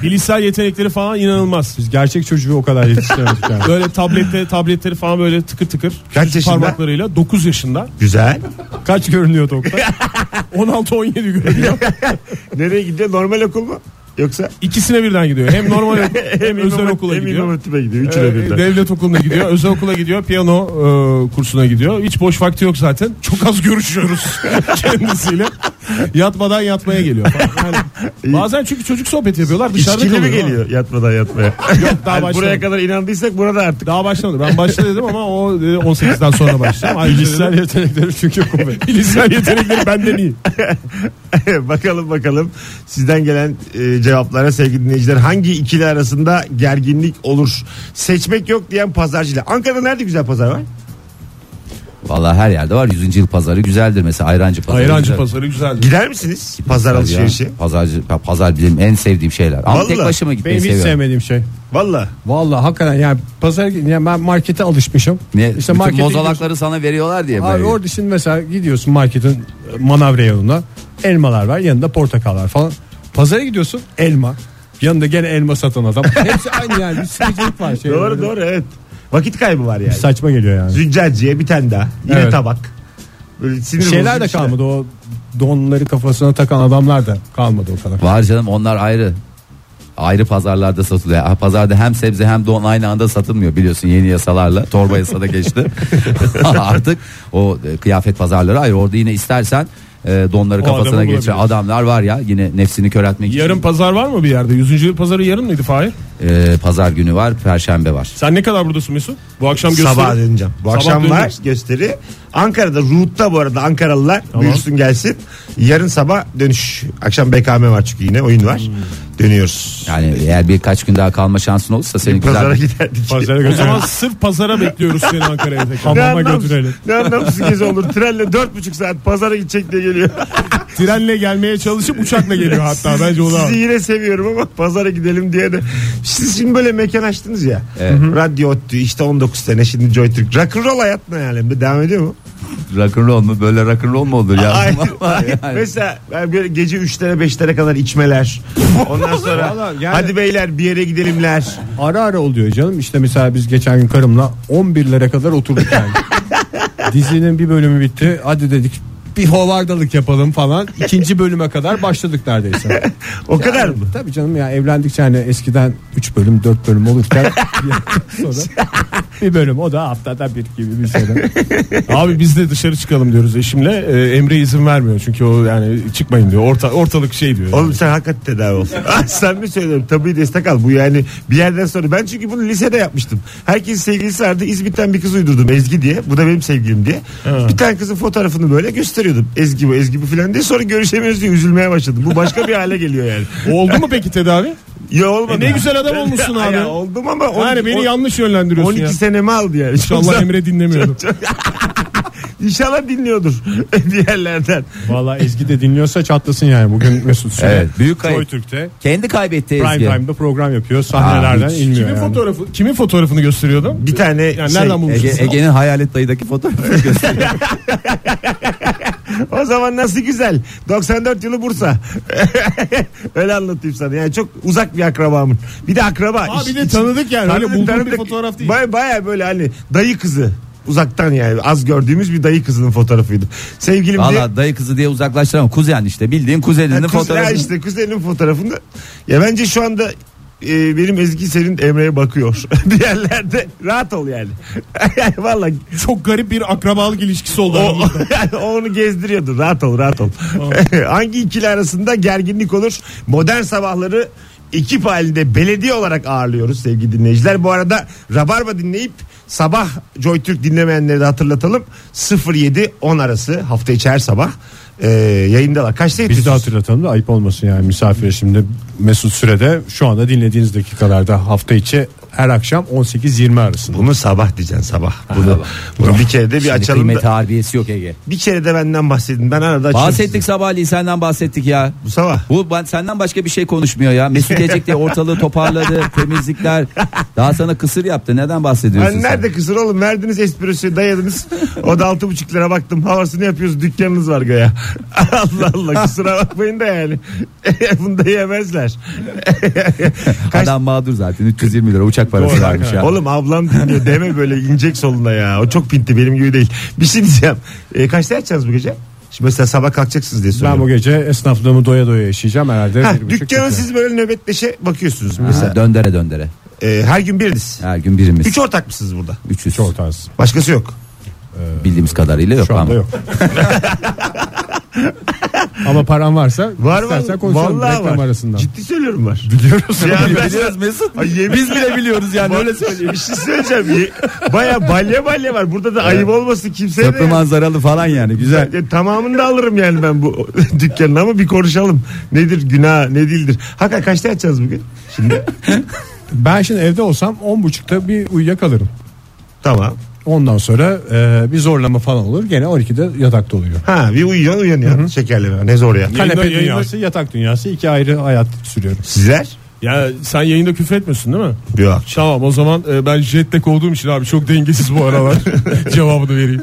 Speaker 5: bilişsel yetenekleri falan inanılmaz.
Speaker 4: Biz gerçek çocuğu o kadar yetiştiremedik yani.
Speaker 5: Böyle tablette tabletleri falan böyle tıkır tıkır.
Speaker 2: Kaç
Speaker 5: Küçük
Speaker 2: yaşında?
Speaker 5: Parmaklarıyla 9 yaşında.
Speaker 2: Güzel.
Speaker 4: Kaç görünüyordu Oktay?
Speaker 5: 16-17 görünüyor.
Speaker 2: Nereye gidiyor? Normal okul mu? Yoksa
Speaker 5: İkisine birden gidiyor. Hem normal okul, hem
Speaker 2: İmam
Speaker 5: özel
Speaker 2: Hatip-
Speaker 5: okula
Speaker 2: hem İmam
Speaker 5: gidiyor.
Speaker 2: Hatip'e gidiyor. Üçüne
Speaker 5: Ee,
Speaker 2: birden.
Speaker 5: devlet okuluna gidiyor, özel okula gidiyor, piyano e, kursuna gidiyor. Hiç boş vakti yok zaten. Çok az görüşüyoruz kendisiyle. Yatmadan yatmaya geliyor. falan. Yani bazen çünkü çocuk sohbeti yapıyorlar dışarıda
Speaker 2: İçkili mi
Speaker 5: kalıyor.
Speaker 2: geliyor yatmadan yatmaya?
Speaker 5: Yok daha
Speaker 2: Yani
Speaker 5: başlamadı.
Speaker 2: buraya kadar inandıysak burada artık.
Speaker 5: Daha başlamadı. Ben başla dedim ama o dedi 18'den sonra başlayacağım. Ayrıca
Speaker 4: Bilişsel
Speaker 5: dedim,
Speaker 4: yetenekleri çünkü kuvvet.
Speaker 5: bilişsel yetenekleri benden iyi.
Speaker 2: bakalım bakalım sizden gelen e, cevaplara sevgili dinleyiciler. Hangi ikili arasında gerginlik olur? Seçmek yok diyen pazarcıyla. Ankara'da nerede güzel pazar var?
Speaker 3: Vallahi her yerde var 100. yıl pazarı güzeldir mesela ayrancı pazarı.
Speaker 5: Hayrancı
Speaker 3: güzel.
Speaker 5: pazarı güzeldi.
Speaker 2: Gider misiniz? Pazar
Speaker 3: Ya,
Speaker 2: alışverişi.
Speaker 3: Pazarcı, pa- pazar bizim en sevdiğim şeyler. Ama
Speaker 2: Vallahi.
Speaker 3: tek başıma
Speaker 4: Benim
Speaker 3: gitmeyi
Speaker 4: hiç
Speaker 3: seviyorum.
Speaker 4: sevmediğim şey.
Speaker 2: Valla.
Speaker 4: Vallahi hakikaten yani pazar yani ben markete alışmışım.
Speaker 3: Niye?
Speaker 4: İşte
Speaker 3: Bütün
Speaker 4: markete
Speaker 3: mozalakları
Speaker 4: gidiyorsun.
Speaker 3: sana veriyorlar diye
Speaker 4: Abi
Speaker 3: böyle.
Speaker 4: orada şimdi mesela gidiyorsun marketin manav reyonuna. Elmalar var yanında portakallar falan. Pazara gidiyorsun elma. Yanında gene elma satan adam. Hepsi aynı yani bir sıkıcılık var. Şey
Speaker 2: Doğru doğru evet. Vakit kaybı var yani.
Speaker 4: Saçma geliyor yani.
Speaker 2: Züccaciye bir tane daha. Yine
Speaker 4: Evet.
Speaker 2: tabak. Böyle sinir
Speaker 4: Şeyler
Speaker 2: bozucu
Speaker 4: de
Speaker 2: bir şeyler.
Speaker 4: kalmadı o donları kafasına takan adamlar da kalmadı o kadar.
Speaker 3: Var canım onlar ayrı. Ayrı pazarlarda satılıyor. Ah, Pazarda hem sebze hem don aynı anda satılmıyor biliyorsun yeni yasalarla. Torba yasa da geçti. Artık o e, kıyafet pazarları ayrı. Orada yine istersen e, donları
Speaker 5: O
Speaker 3: kafasına
Speaker 5: adamı
Speaker 3: geçen
Speaker 5: bulabiliriz.
Speaker 3: adamlar var ya yine nefsini köreltmek için.
Speaker 5: Yarın pazar var mı bir yerde? Yüzüncü yıl pazarı yarın mıydı Fahir?
Speaker 3: E, pazar günü var, perşembe var.
Speaker 5: Sen ne kadar buradasın Mesut? Bu akşam gösteri.
Speaker 2: Sabah döneceğim. Bu
Speaker 5: Sabah
Speaker 2: akşam var
Speaker 5: döneceğiz.
Speaker 2: gösteri. Ankara'da Ruhut'ta bu arada Ankaralılar buyursun gelsin. Yarın sabah dönüş. Akşam BKM var çünkü yine oyun var. Dönüyoruz.
Speaker 3: Yani eğer birkaç gün daha kalma şansın olursa seni
Speaker 2: Pazara
Speaker 3: güzel
Speaker 2: giderdik.
Speaker 4: Pazara
Speaker 5: O zaman
Speaker 4: götürelim.
Speaker 5: sırf pazara bekliyoruz seni Ankara'ya tekrar.
Speaker 2: Ne
Speaker 4: Hamama
Speaker 2: anlamsız-
Speaker 4: götürelim.
Speaker 2: Ne anlamsız gezi olur. Trenle dört buçuk saat pazara gidecek diye geliyor.
Speaker 5: Trenle gelmeye çalışıp uçakla geliyor hatta bence o da.
Speaker 2: Sizi yine seviyorum ama pazara gidelim diye de. Siz şimdi böyle mekan açtınız ya. Radyo Ottu işte 19 sene şimdi Joytürk. Rock'n'roll hayat ne yani? Devam ediyor mu?
Speaker 3: rock'n'roll mu? Böyle rock'n'roll mu olur ya?
Speaker 2: Hayır,
Speaker 3: Ama
Speaker 2: hayır.
Speaker 3: yani-
Speaker 2: Mesela yani böyle gece 3'lere 5'lere kadar içmeler. Ondan sonra
Speaker 4: Vallahi yani-
Speaker 2: hadi beyler bir yere gidelimler.
Speaker 4: Ara ara oluyor canım. İşte mesela biz geçen gün karımla 11'lere kadar oturduk yani. Dizinin bir bölümü bitti. Hadi dedik bir hovardalık yapalım falan. İkinci bölüme kadar başladık neredeyse.
Speaker 2: O kadar mı?
Speaker 4: Tabii canım ya evlendikçe hani eskiden 3 bölüm 4 bölüm olurken bir hafta sonra bir bölüm o da haftada bir gibi bir şeyden.
Speaker 5: Abi biz de dışarı çıkalım diyoruz eşimle. Ee, Emre izin vermiyor çünkü o yani çıkmayın diyor. Orta, ortalık şey diyor.
Speaker 2: Oğlum sen hakikaten tedavi ol. sen mi söylüyorum? Tabii destek al. Bu yani bir yerden sonra. Ben çünkü bunu lisede yapmıştım. Herkes sevgilisi vardı. İzmit'ten bir kız uydurdum Ezgi diye. Bu da benim sevgilim diye. Bir tane kızın fotoğrafını böyle gösteriyordum. Ezgi bu Ezgi bu filan diye. Sonra görüşemiyoruz diye üzülmeye başladım. Bu başka bir hale geliyor yani.
Speaker 5: Oldu mu peki tedavi?
Speaker 2: Ya olmadı.
Speaker 5: E ne güzel adam olmuşsun abi.
Speaker 2: Ya oldum ama. on-
Speaker 5: Yani beni
Speaker 2: on-
Speaker 5: yanlış yönlendiriyorsun
Speaker 2: 12
Speaker 5: ya.
Speaker 2: senemi aldı yani.
Speaker 5: İnşallah Emre dinlemiyordu.
Speaker 2: İnşallah dinliyordur bir yerlerden.
Speaker 4: Valla Ezgi de dinliyorsa çatlasın yani bugün Mesut Süre.
Speaker 3: Evet, büyük kayıp.
Speaker 4: Joy Türk'te
Speaker 3: Kendi kaybetti
Speaker 4: prime
Speaker 3: Ezgi.
Speaker 4: time'da program yapıyor. Sahnelerden
Speaker 3: Aa, hiç.
Speaker 4: inmiyor
Speaker 5: Kimin
Speaker 4: yani.
Speaker 5: fotoğrafı kimin fotoğrafını gösteriyordum?
Speaker 2: Bir tane
Speaker 5: Yani
Speaker 2: şey,
Speaker 5: nereden
Speaker 3: Ege,
Speaker 5: bulmuşsun?
Speaker 3: Ege'nin hayalet dayıdaki fotoğrafını gösteriyor.
Speaker 2: o zaman nasıl güzel. 94 yılı Bursa. Öyle anlatayım sana. Yani çok uzak bir akrabamın. Bir de akraba.
Speaker 5: Aa,
Speaker 2: İş-
Speaker 5: bir de
Speaker 2: iç-
Speaker 5: tanıdık yani. Öyle
Speaker 2: tanıdık,
Speaker 5: bulduğum bir
Speaker 2: tanıdık.
Speaker 5: fotoğraf değil.
Speaker 2: Baya, baya böyle hani dayı kızı. Uzaktan yani az gördüğümüz bir dayı kızının fotoğrafıydı. Sevgilim diye.
Speaker 3: Valla dayı kızı diye uzaklaştıramam. Kuzen işte bildiğin kuzeninin
Speaker 2: Ha, kuz-
Speaker 3: fotoğrafı.
Speaker 2: ha işte kuzenin fotoğrafında. Ya bence şu anda e, benim Ezgi senin Emre'ye bakıyor. bir yerlerde rahat ol yani. Vallahi
Speaker 5: Çok garip bir akrabalık ilişkisi oldu.
Speaker 2: O,
Speaker 5: aramızda.
Speaker 2: yani o onu gezdiriyordu. Rahat ol rahat ol. Hangi ikili arasında gerginlik olur? Modern sabahları ekip halinde belediye olarak ağırlıyoruz sevgili dinleyiciler. Bu arada Rabarba dinleyip sabah Joytürk dinlemeyenleri de hatırlatalım. 07-10 arası hafta içi her sabah e, yayındalar. Kaçta
Speaker 4: Biz de
Speaker 2: yetiyorsunuz?
Speaker 4: hatırlatalım da ayıp olmasın yani misafire şimdi Mesut Süre'de şu anda dinlediğiniz dakikalarda hafta içi her akşam 18-20 arasında.
Speaker 2: Bunu sabah diyeceksin sabah. Bunu, bunu bir kere de bir
Speaker 3: Şimdi
Speaker 2: açalım
Speaker 3: kıymeti
Speaker 2: da,
Speaker 3: harbiyesi yok Ege.
Speaker 2: bir kere de benden bahsedin. Ben arada açıyorum
Speaker 3: Bahsettik
Speaker 2: sizi.
Speaker 3: sabahleyin senden bahsettik ya.
Speaker 2: Bu sabah.
Speaker 3: Bu ben, senden başka bir şey konuşmuyor ya. Mesut gelecek diye ortalığı toparladı. temizlikler. Daha sana kısır yaptı. Neden bahsediyorsun
Speaker 2: Ben
Speaker 3: sen?
Speaker 2: Hani nerede kısır oğlum verdiniz esprosiye dayadınız. O da altı buçuk lira baktım havasını yapıyoruz dükkanınız var göya. Allah Allah kusura bakmayın da yani. Bunu da yemezler. Kaç-
Speaker 3: Adam mağdur zaten. 320 lira uçak parası
Speaker 2: Doğru.
Speaker 3: varmış ya.
Speaker 2: Oğlum ablam dinliyor deme böyle inecek soluna ya. O çok pinti benim gibi değil. Bir şey diyeceğim. E, kaçta yatacaksınız bu gece? Şimdi mesela sabah kalkacaksınız diye
Speaker 4: Ben bu
Speaker 2: soruyorum.
Speaker 4: gece esnaflığımı doya doya yaşayacağım herhalde.
Speaker 2: Ha,
Speaker 4: bir buçuk
Speaker 2: dükkana
Speaker 4: iki.
Speaker 2: siz böyle nöbetleşe bakıyorsunuz
Speaker 3: Ha,
Speaker 2: mesela.
Speaker 3: döndere döndere.
Speaker 2: E, her gün biriniz.
Speaker 3: Her gün birimiz.
Speaker 2: Üç ortak mısınız burada?
Speaker 3: Üçüz.
Speaker 4: Çok tarz.
Speaker 2: Başkası yok.
Speaker 3: Bildiğimiz kadarıyla yok
Speaker 4: Şu anda
Speaker 3: ama.
Speaker 4: yok. Ama paran varsa
Speaker 2: Var var.
Speaker 4: istersen konuşalım
Speaker 2: Vallahi
Speaker 4: reklam
Speaker 2: var.
Speaker 4: arasında.
Speaker 2: Ciddi söylüyorum var. Biliyoruz. Ya ben-
Speaker 3: Mesut.
Speaker 2: Ay, yemin-
Speaker 3: Biz bile biliyoruz yani öyle söyleyeyim.
Speaker 2: Bir şey söyleyeceğim. Ye- Baya balya balya var. Burada da ayıp olmasın kimseye de.
Speaker 3: Köprü manzaralı falan yani güzel.
Speaker 2: Ya, tamamını da alırım yani ben bu dükkanın ama bir konuşalım. Nedir günah ne değildir. Hakikaten kaçta açacağız bugün? Şimdi
Speaker 4: Ben şimdi evde olsam 10.30'da bir uyuyakalırım.
Speaker 2: tamam.
Speaker 4: Ondan sonra e, bir zorlama falan olur. Gene 12'de yatakta oluyor.
Speaker 2: Ha bir uyuyorsun uyanıyorsun şekerleme ne zor ya.
Speaker 5: Yayında-
Speaker 4: Kanepe
Speaker 5: yayında-
Speaker 4: dünyası, yatak dünyası iki ayrı hayat sürüyorum.
Speaker 2: Sizler?
Speaker 5: Ya sen yayında küfür etmiyorsun değil mi?
Speaker 2: Yok.
Speaker 5: Tamam o zaman e, ben jet lag olduğum için abi çok dengesiz bu aralar. Cevabını vereyim.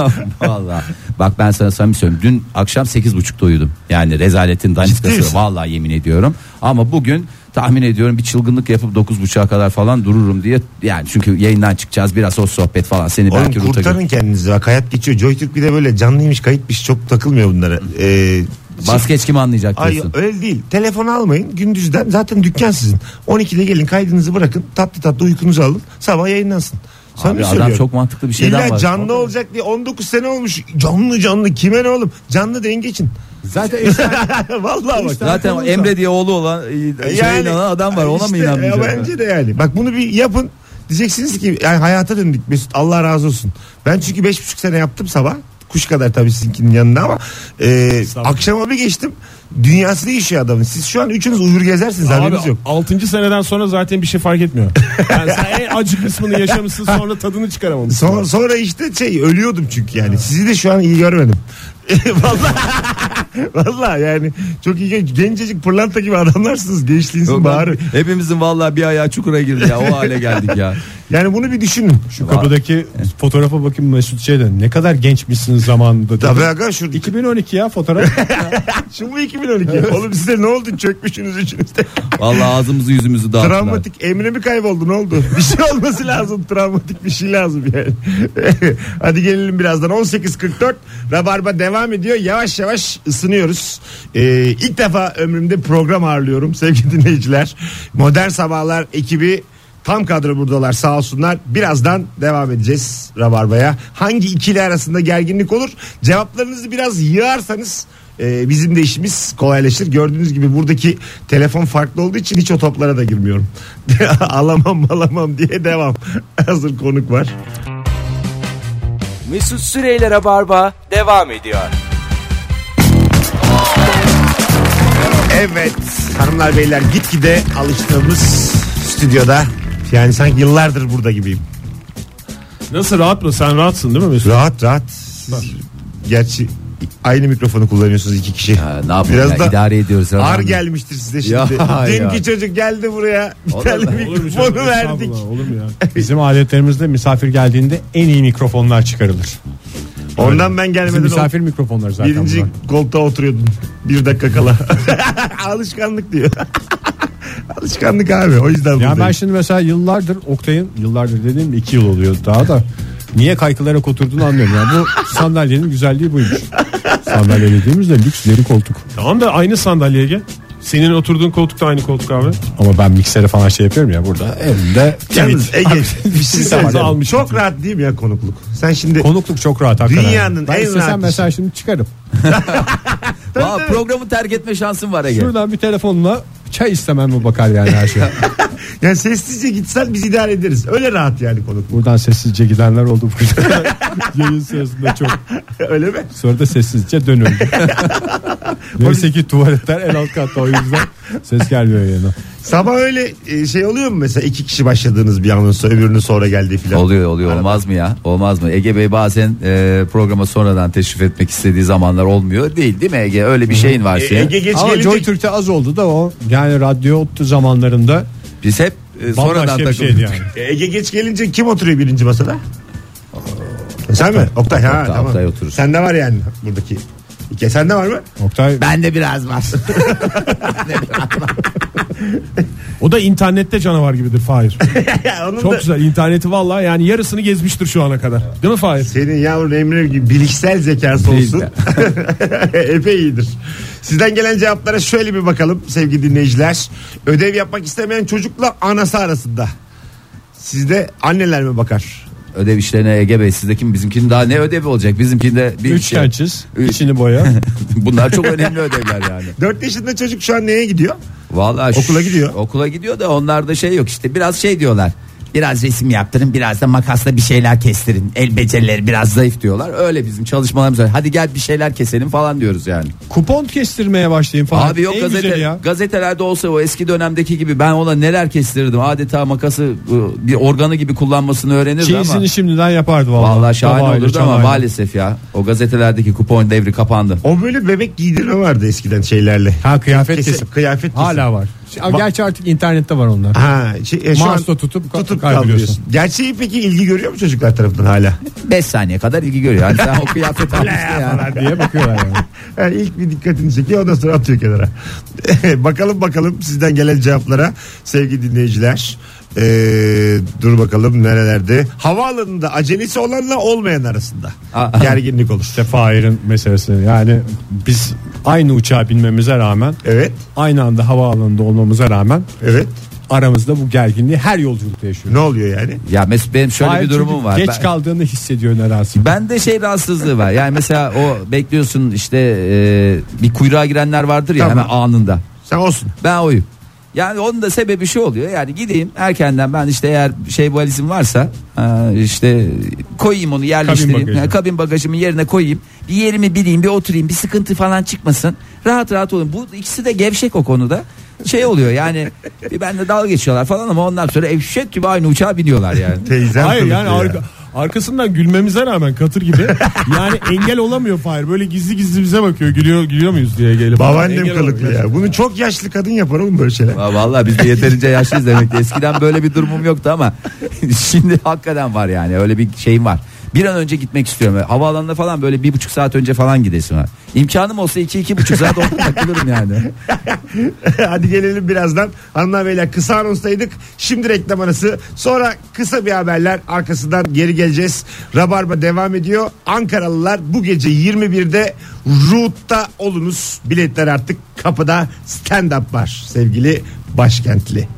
Speaker 3: Valla. Bak ben sana samimi söylüyorum. Dün akşam 8.30'da uyudum. Yani rezaletin
Speaker 2: misin?
Speaker 3: daniskası. Valla yemin ediyorum. Ama bugün tahmin ediyorum bir çılgınlık yapıp 9.30'a kadar falan dururum diye. Yani çünkü yayından çıkacağız biraz o sohbet falan. Seni
Speaker 2: Oğlum
Speaker 3: belki ruta
Speaker 2: kurtarın kendinizi bak hayat geçiyor. Joytürk bir de böyle canlıymış kayıtmış çok takılmıyor bunlara. Ee,
Speaker 3: gö- Baskeç kim anlayacak
Speaker 2: Ay
Speaker 3: diyorsun.
Speaker 2: öyle değil. Telefon almayın. Gündüzden zaten dükkan sizin. 12'de gelin kaydınızı bırakın. Tatlı tatlı uykunuzu alın. Sabah yayınlansın. Sana
Speaker 3: Abi adam
Speaker 2: söylüyorum.
Speaker 3: çok mantıklı bir şeyden
Speaker 2: İlla
Speaker 3: bahsediyor.
Speaker 2: canlı olacak diye 19 sene olmuş. Canlı canlı kime ne oğlum? Canlı deyin geçin.
Speaker 4: Zaten efsane
Speaker 2: Vallahi bak.
Speaker 3: Zaten o Emre diye oğlu olan e, şeye inanan adam var. Ona mı
Speaker 2: işte,
Speaker 3: inanmayacak?
Speaker 2: ya Bence de yani. Bak bunu bir yapın. Diyeceksiniz ki yani hayata döndük Mesut Allah razı olsun. Ben çünkü beş buçuk sene yaptım sabah. Kuş kadar tabii sizinkinin yanında ama e, akşama bir geçtim. Dünyası değişiyor adamın. Siz şu an üçünüz uyur gezersiniz haberiniz
Speaker 5: Abi,
Speaker 2: yok.
Speaker 5: 6. seneden sonra zaten bir şey fark etmiyor. Yani sen en acı kısmını yaşamışsın sonra tadını çıkaramamışsın.
Speaker 2: Sonra, sonra işte şey ölüyordum çünkü yani. Sizi de şu an iyi görmedim. Vallahi Vallahi yani çok iyi gen- gencecik pırlanta gibi adamlarsınız gençliğinizin
Speaker 3: Yok,
Speaker 2: baharı.
Speaker 3: ben- Hepimizin vallahi bir ayağı çukura girdi ya. O hale geldik ya.
Speaker 2: Yani bunu bir düşünün.
Speaker 4: Şu kapıdaki fotoğrafa bakayım Mesut şeyden ne kadar gençmişsiniz zamanında. dedi.
Speaker 2: Tabii aga şurada
Speaker 4: 2012 ya fotoğraf.
Speaker 2: Şu mu 2012? Oğlum size ne oldu? Çökmüşsünüz üçünüz de.
Speaker 3: Vallahi ağzımızı yüzümüzü dağıttılar.
Speaker 2: Travmatik Emre mi kayboldu ne oldu? Bir şey olması lazım. Travmatik bir şey lazım yani. Hadi gelelim birazdan. 18.44 Rabarba devam ediyor. Yavaş yavaş ısınıyoruz. Ee, ilk defa ömrümde program ağırlıyorum sevgili dinleyiciler. Modern Sabahlar ekibi tam kadro buradalar sağ olsunlar. Birazdan devam edeceğiz Rabarba'ya. Hangi ikili arasında gerginlik olur? Cevaplarınızı biraz yığarsanız ee, bizim de işimiz kolaylaşır. Gördüğünüz gibi buradaki telefon farklı olduğu için hiç o toplara da girmiyorum. alamam alamam diye devam. Hazır konuk var.
Speaker 1: Mesut Süreyler'e barba devam ediyor.
Speaker 2: Evet hanımlar beyler gitgide alıştığımız stüdyoda. Yani sanki yıllardır burada gibiyim.
Speaker 5: Nasıl rahat mı? Sen rahatsın değil mi Mesut?
Speaker 2: Rahat rahat. Siz, gerçi aynı mikrofonu kullanıyorsunuz iki kişi.
Speaker 3: Ha, ne yapalım ya, idare ediyoruz.
Speaker 2: Ar
Speaker 3: Ar
Speaker 2: gelmiştir size
Speaker 3: Ya,
Speaker 2: şimdi. Dünkü
Speaker 3: ya.
Speaker 2: çocuk geldi buraya. Bir
Speaker 3: Olur
Speaker 2: tane
Speaker 3: mu?
Speaker 5: Olur mu canım?
Speaker 2: mikrofonu verdik.
Speaker 5: Estağfurullah, Olur mu ya?
Speaker 4: Bizim aletlerimizde misafir geldiğinde en iyi mikrofonlar çıkarılır.
Speaker 2: Ondan ben gelmeden
Speaker 4: Bizim
Speaker 2: oldu.
Speaker 4: misafir mikrofonları zaten
Speaker 2: Birinci
Speaker 4: bunlar.
Speaker 2: koltuğa oturuyordun. Bir dakika kala. Alışkanlık diyor. Alışkanlık abi. O yüzden
Speaker 4: Ya
Speaker 2: buradayım.
Speaker 4: ben şimdi mesela yıllardır Oktay'ın yıllardır dediğim de iki yıl oluyor daha da niye kaykılarak oturduğunu anlıyorum. Yani bu sandalyenin güzelliği buymuş. Sandalye dediğimiz de lüks deri koltuk.
Speaker 5: Tamam da aynı sandalyeye gel. Senin oturduğun koltuk da aynı koltuk abi.
Speaker 4: Ama ben miksere falan şey yapıyorum ya burada elimde
Speaker 2: Yalnız
Speaker 4: tweet.
Speaker 2: Ege bir şey
Speaker 4: tweet
Speaker 2: söyleyeceğim.
Speaker 4: var yani.
Speaker 2: Çok rahat değil mi ya konukluk? Sen şimdi
Speaker 4: Konukluk çok rahat hakikaten.
Speaker 2: Dünyanın
Speaker 4: ben
Speaker 2: en
Speaker 4: istesem
Speaker 2: rahat
Speaker 4: mesela şimdi çıkarım.
Speaker 3: programı terk etme şansın var Ege.
Speaker 4: Şuradan bir telefonla çay istemem mi bakar yani her şey.
Speaker 2: yani sessizce gitsen biz idare ederiz. Öyle rahat yani konukluk.
Speaker 4: Buradan sessizce gidenler oldu bugün. Yayın sırasında çok.
Speaker 2: Öyle mi?
Speaker 4: Sonra da sessizce dönüldü. Neyse ki tuvaletler en alt katta o yüzden ses gelmiyor yayına.
Speaker 2: Sabah öyle e, şey oluyor mu mesela iki kişi başladığınız bir anın sonra öbürünün sonra geldiği filan.
Speaker 3: Oluyor oluyor olmaz mı ya olmaz mı Ege Bey bazen e, programa sonradan teşrif etmek istediği zamanlar olmuyor değil değil mi Ege öyle bir şeyin var
Speaker 2: E,
Speaker 3: senin.
Speaker 2: Ege geç
Speaker 4: Ama
Speaker 2: gelecek.
Speaker 4: Joy Türk'te az oldu da o yani radyo ottu zamanlarında
Speaker 3: Biz hep e, sonradan
Speaker 4: bambaşka bir
Speaker 3: takıldık.
Speaker 4: şeydi yani.
Speaker 2: E, Ege geç gelince kim oturuyor birinci masada? E, Sen mi? Oktay, ha
Speaker 3: Oktay,
Speaker 2: tamam.
Speaker 3: Oktay oturur.
Speaker 2: Sende var yani buradaki. İki, sende var mı?
Speaker 4: Oktay
Speaker 3: Ben de biraz var.
Speaker 5: O da internette canavar gibidir Fahir.
Speaker 2: Onun
Speaker 5: Çok
Speaker 2: da-
Speaker 5: güzel interneti vallahi yani yarısını gezmiştir şu ana kadar. Değil mi Fahir?
Speaker 2: Senin yavrun Emre gibi bilişsel zekası
Speaker 3: Değil
Speaker 2: olsun. Epey iyidir. Sizden gelen cevaplara şöyle bir bakalım sevgili dinleyiciler. Ödev yapmak istemeyen çocukla anası arasında. Sizde anneler mi bakar?
Speaker 3: Ödev işlerine Ege Bey sizdeki bizimkinin daha ne ödevi olacak bizimkinde bir
Speaker 4: üçgen
Speaker 3: şey-
Speaker 4: çiz
Speaker 3: Üç-
Speaker 4: içini boya.
Speaker 3: Bunlar çok önemli ödevler yani.
Speaker 2: 4 yaşında çocuk şu an neye gidiyor?
Speaker 3: Vallahi şu-
Speaker 2: Okula gidiyor.
Speaker 3: Okula gidiyor da onlarda şey yok işte biraz şey diyorlar. Biraz resim yaptırın biraz da makasla bir şeyler kestirin. El becerileri biraz zayıf diyorlar. Öyle bizim çalışmalarımız var. Hadi gel bir şeyler keselim falan diyoruz yani.
Speaker 4: Kupon kestirmeye başlayayım falan.
Speaker 3: Abi yok
Speaker 4: en
Speaker 3: gazete,
Speaker 4: güzeli ya.
Speaker 3: gazetelerde olsa o eski dönemdeki gibi ben ona neler kestirirdim. Adeta makası bu, bir organı gibi kullanmasını öğrenirdi ama.
Speaker 4: Çeyizini şimdiden yapardı vallahi.
Speaker 3: Vallahi şahane
Speaker 4: Tabağıyla,
Speaker 3: olurdu ama
Speaker 4: çanağıyla.
Speaker 3: maalesef ya. O gazetelerdeki kupon devri kapandı.
Speaker 2: O böyle bebek giydirme vardı eskiden şeylerle.
Speaker 4: Ha kıyafet
Speaker 2: Kesin-
Speaker 4: kesim.
Speaker 2: Kıyafet kesim.
Speaker 4: Hala var. Ş- Gerçi artık internette var onlar.
Speaker 2: Ha, şey, e, şu an
Speaker 4: Mouse'la tutup ka-
Speaker 2: tutup
Speaker 4: kaydırıyorsun.
Speaker 2: kaldırıyorsun. Gerçeği peki ilgi görüyor mu çocuklar tarafından hala?
Speaker 3: 5 saniye kadar ilgi görüyor. Yani sen o kıyafet almışsın ya.
Speaker 4: diye bakıyorlar yani.
Speaker 2: Yani ilk bir dikkatini çekiyor ondan sonra atıyor kenara. bakalım bakalım sizden gelen cevaplara sevgili dinleyiciler. Ee, dur bakalım nerelerde. Havaalanında acelesi olanla olmayan arasında
Speaker 3: Aa.
Speaker 2: gerginlik olur.
Speaker 4: İşte Fahir'in meselesi yani biz aynı uçağa binmemize rağmen
Speaker 2: Evet,
Speaker 4: aynı anda havaalanında olmamıza rağmen
Speaker 2: evet.
Speaker 4: aramızda bu gerginliği her yolculukta yaşıyoruz.
Speaker 2: Ne oluyor yani?
Speaker 3: Ya Mesut benim şöyle
Speaker 4: Hayır,
Speaker 3: bir
Speaker 4: çünkü
Speaker 3: durumum var.
Speaker 4: Geç
Speaker 3: Ben-
Speaker 4: kaldığını hissediyor nedense.
Speaker 3: Ben de şey rahatsızlığı var. Yani mesela o bekliyorsun işte e, bir kuyruğa girenler vardır ya
Speaker 2: Tamam.
Speaker 3: hemen anında.
Speaker 2: Sen olsun.
Speaker 3: Ben oyum. Yani onun da sebebi şu oluyor. Yani gideyim erkenden ben işte eğer şey valizim varsa e, işte koyayım onu yerleştireyim. Kabin,
Speaker 5: bagajı.
Speaker 3: kabin bagajımın yerine koyayım. Bir yerimi bileyim bir oturayım bir sıkıntı falan çıkmasın. Rahat rahat olun. Bu ikisi de gevşek o konuda. Şey oluyor yani bir benle dalga geçiyorlar falan ama ondan sonra evşek gibi aynı uçağa biniyorlar yani.
Speaker 2: Teyzem
Speaker 5: Hayır
Speaker 2: kılıklı
Speaker 5: yani arka- arkasından gülmemize rağmen katır gibi yani engel olamıyor Fahir. Böyle gizli gizli bize bakıyor gülüyor gülüyor muyuz diye gelip.
Speaker 2: Babaannem
Speaker 5: Engel
Speaker 2: kılıklı
Speaker 5: olamıyor.
Speaker 2: ya. Bunu çok yaşlı kadın yapar oğlum böyle şeyler.
Speaker 3: Va- Vallahi biz de yeterince yaşlıyız demek ki. Eskiden böyle bir durumum yoktu ama şimdi hakikaten var yani öyle bir şeyim var. Bir an önce gitmek istiyorum. Havaalanına falan böyle bir buçuk saat önce falan gidesim var. İmkanım olsa iki iki buçuk saat orada takılırım yani.
Speaker 2: Hadi gelelim birazdan. Hanımlar beyler kısa anonstaydık. Şimdi reklam arası. Sonra kısa bir haberler. Arkasından geri geleceğiz. Rabarba devam ediyor. Ankaralılar bu gece 21'de Root'ta olunuz. Biletler artık kapıda stand up var sevgili başkentli.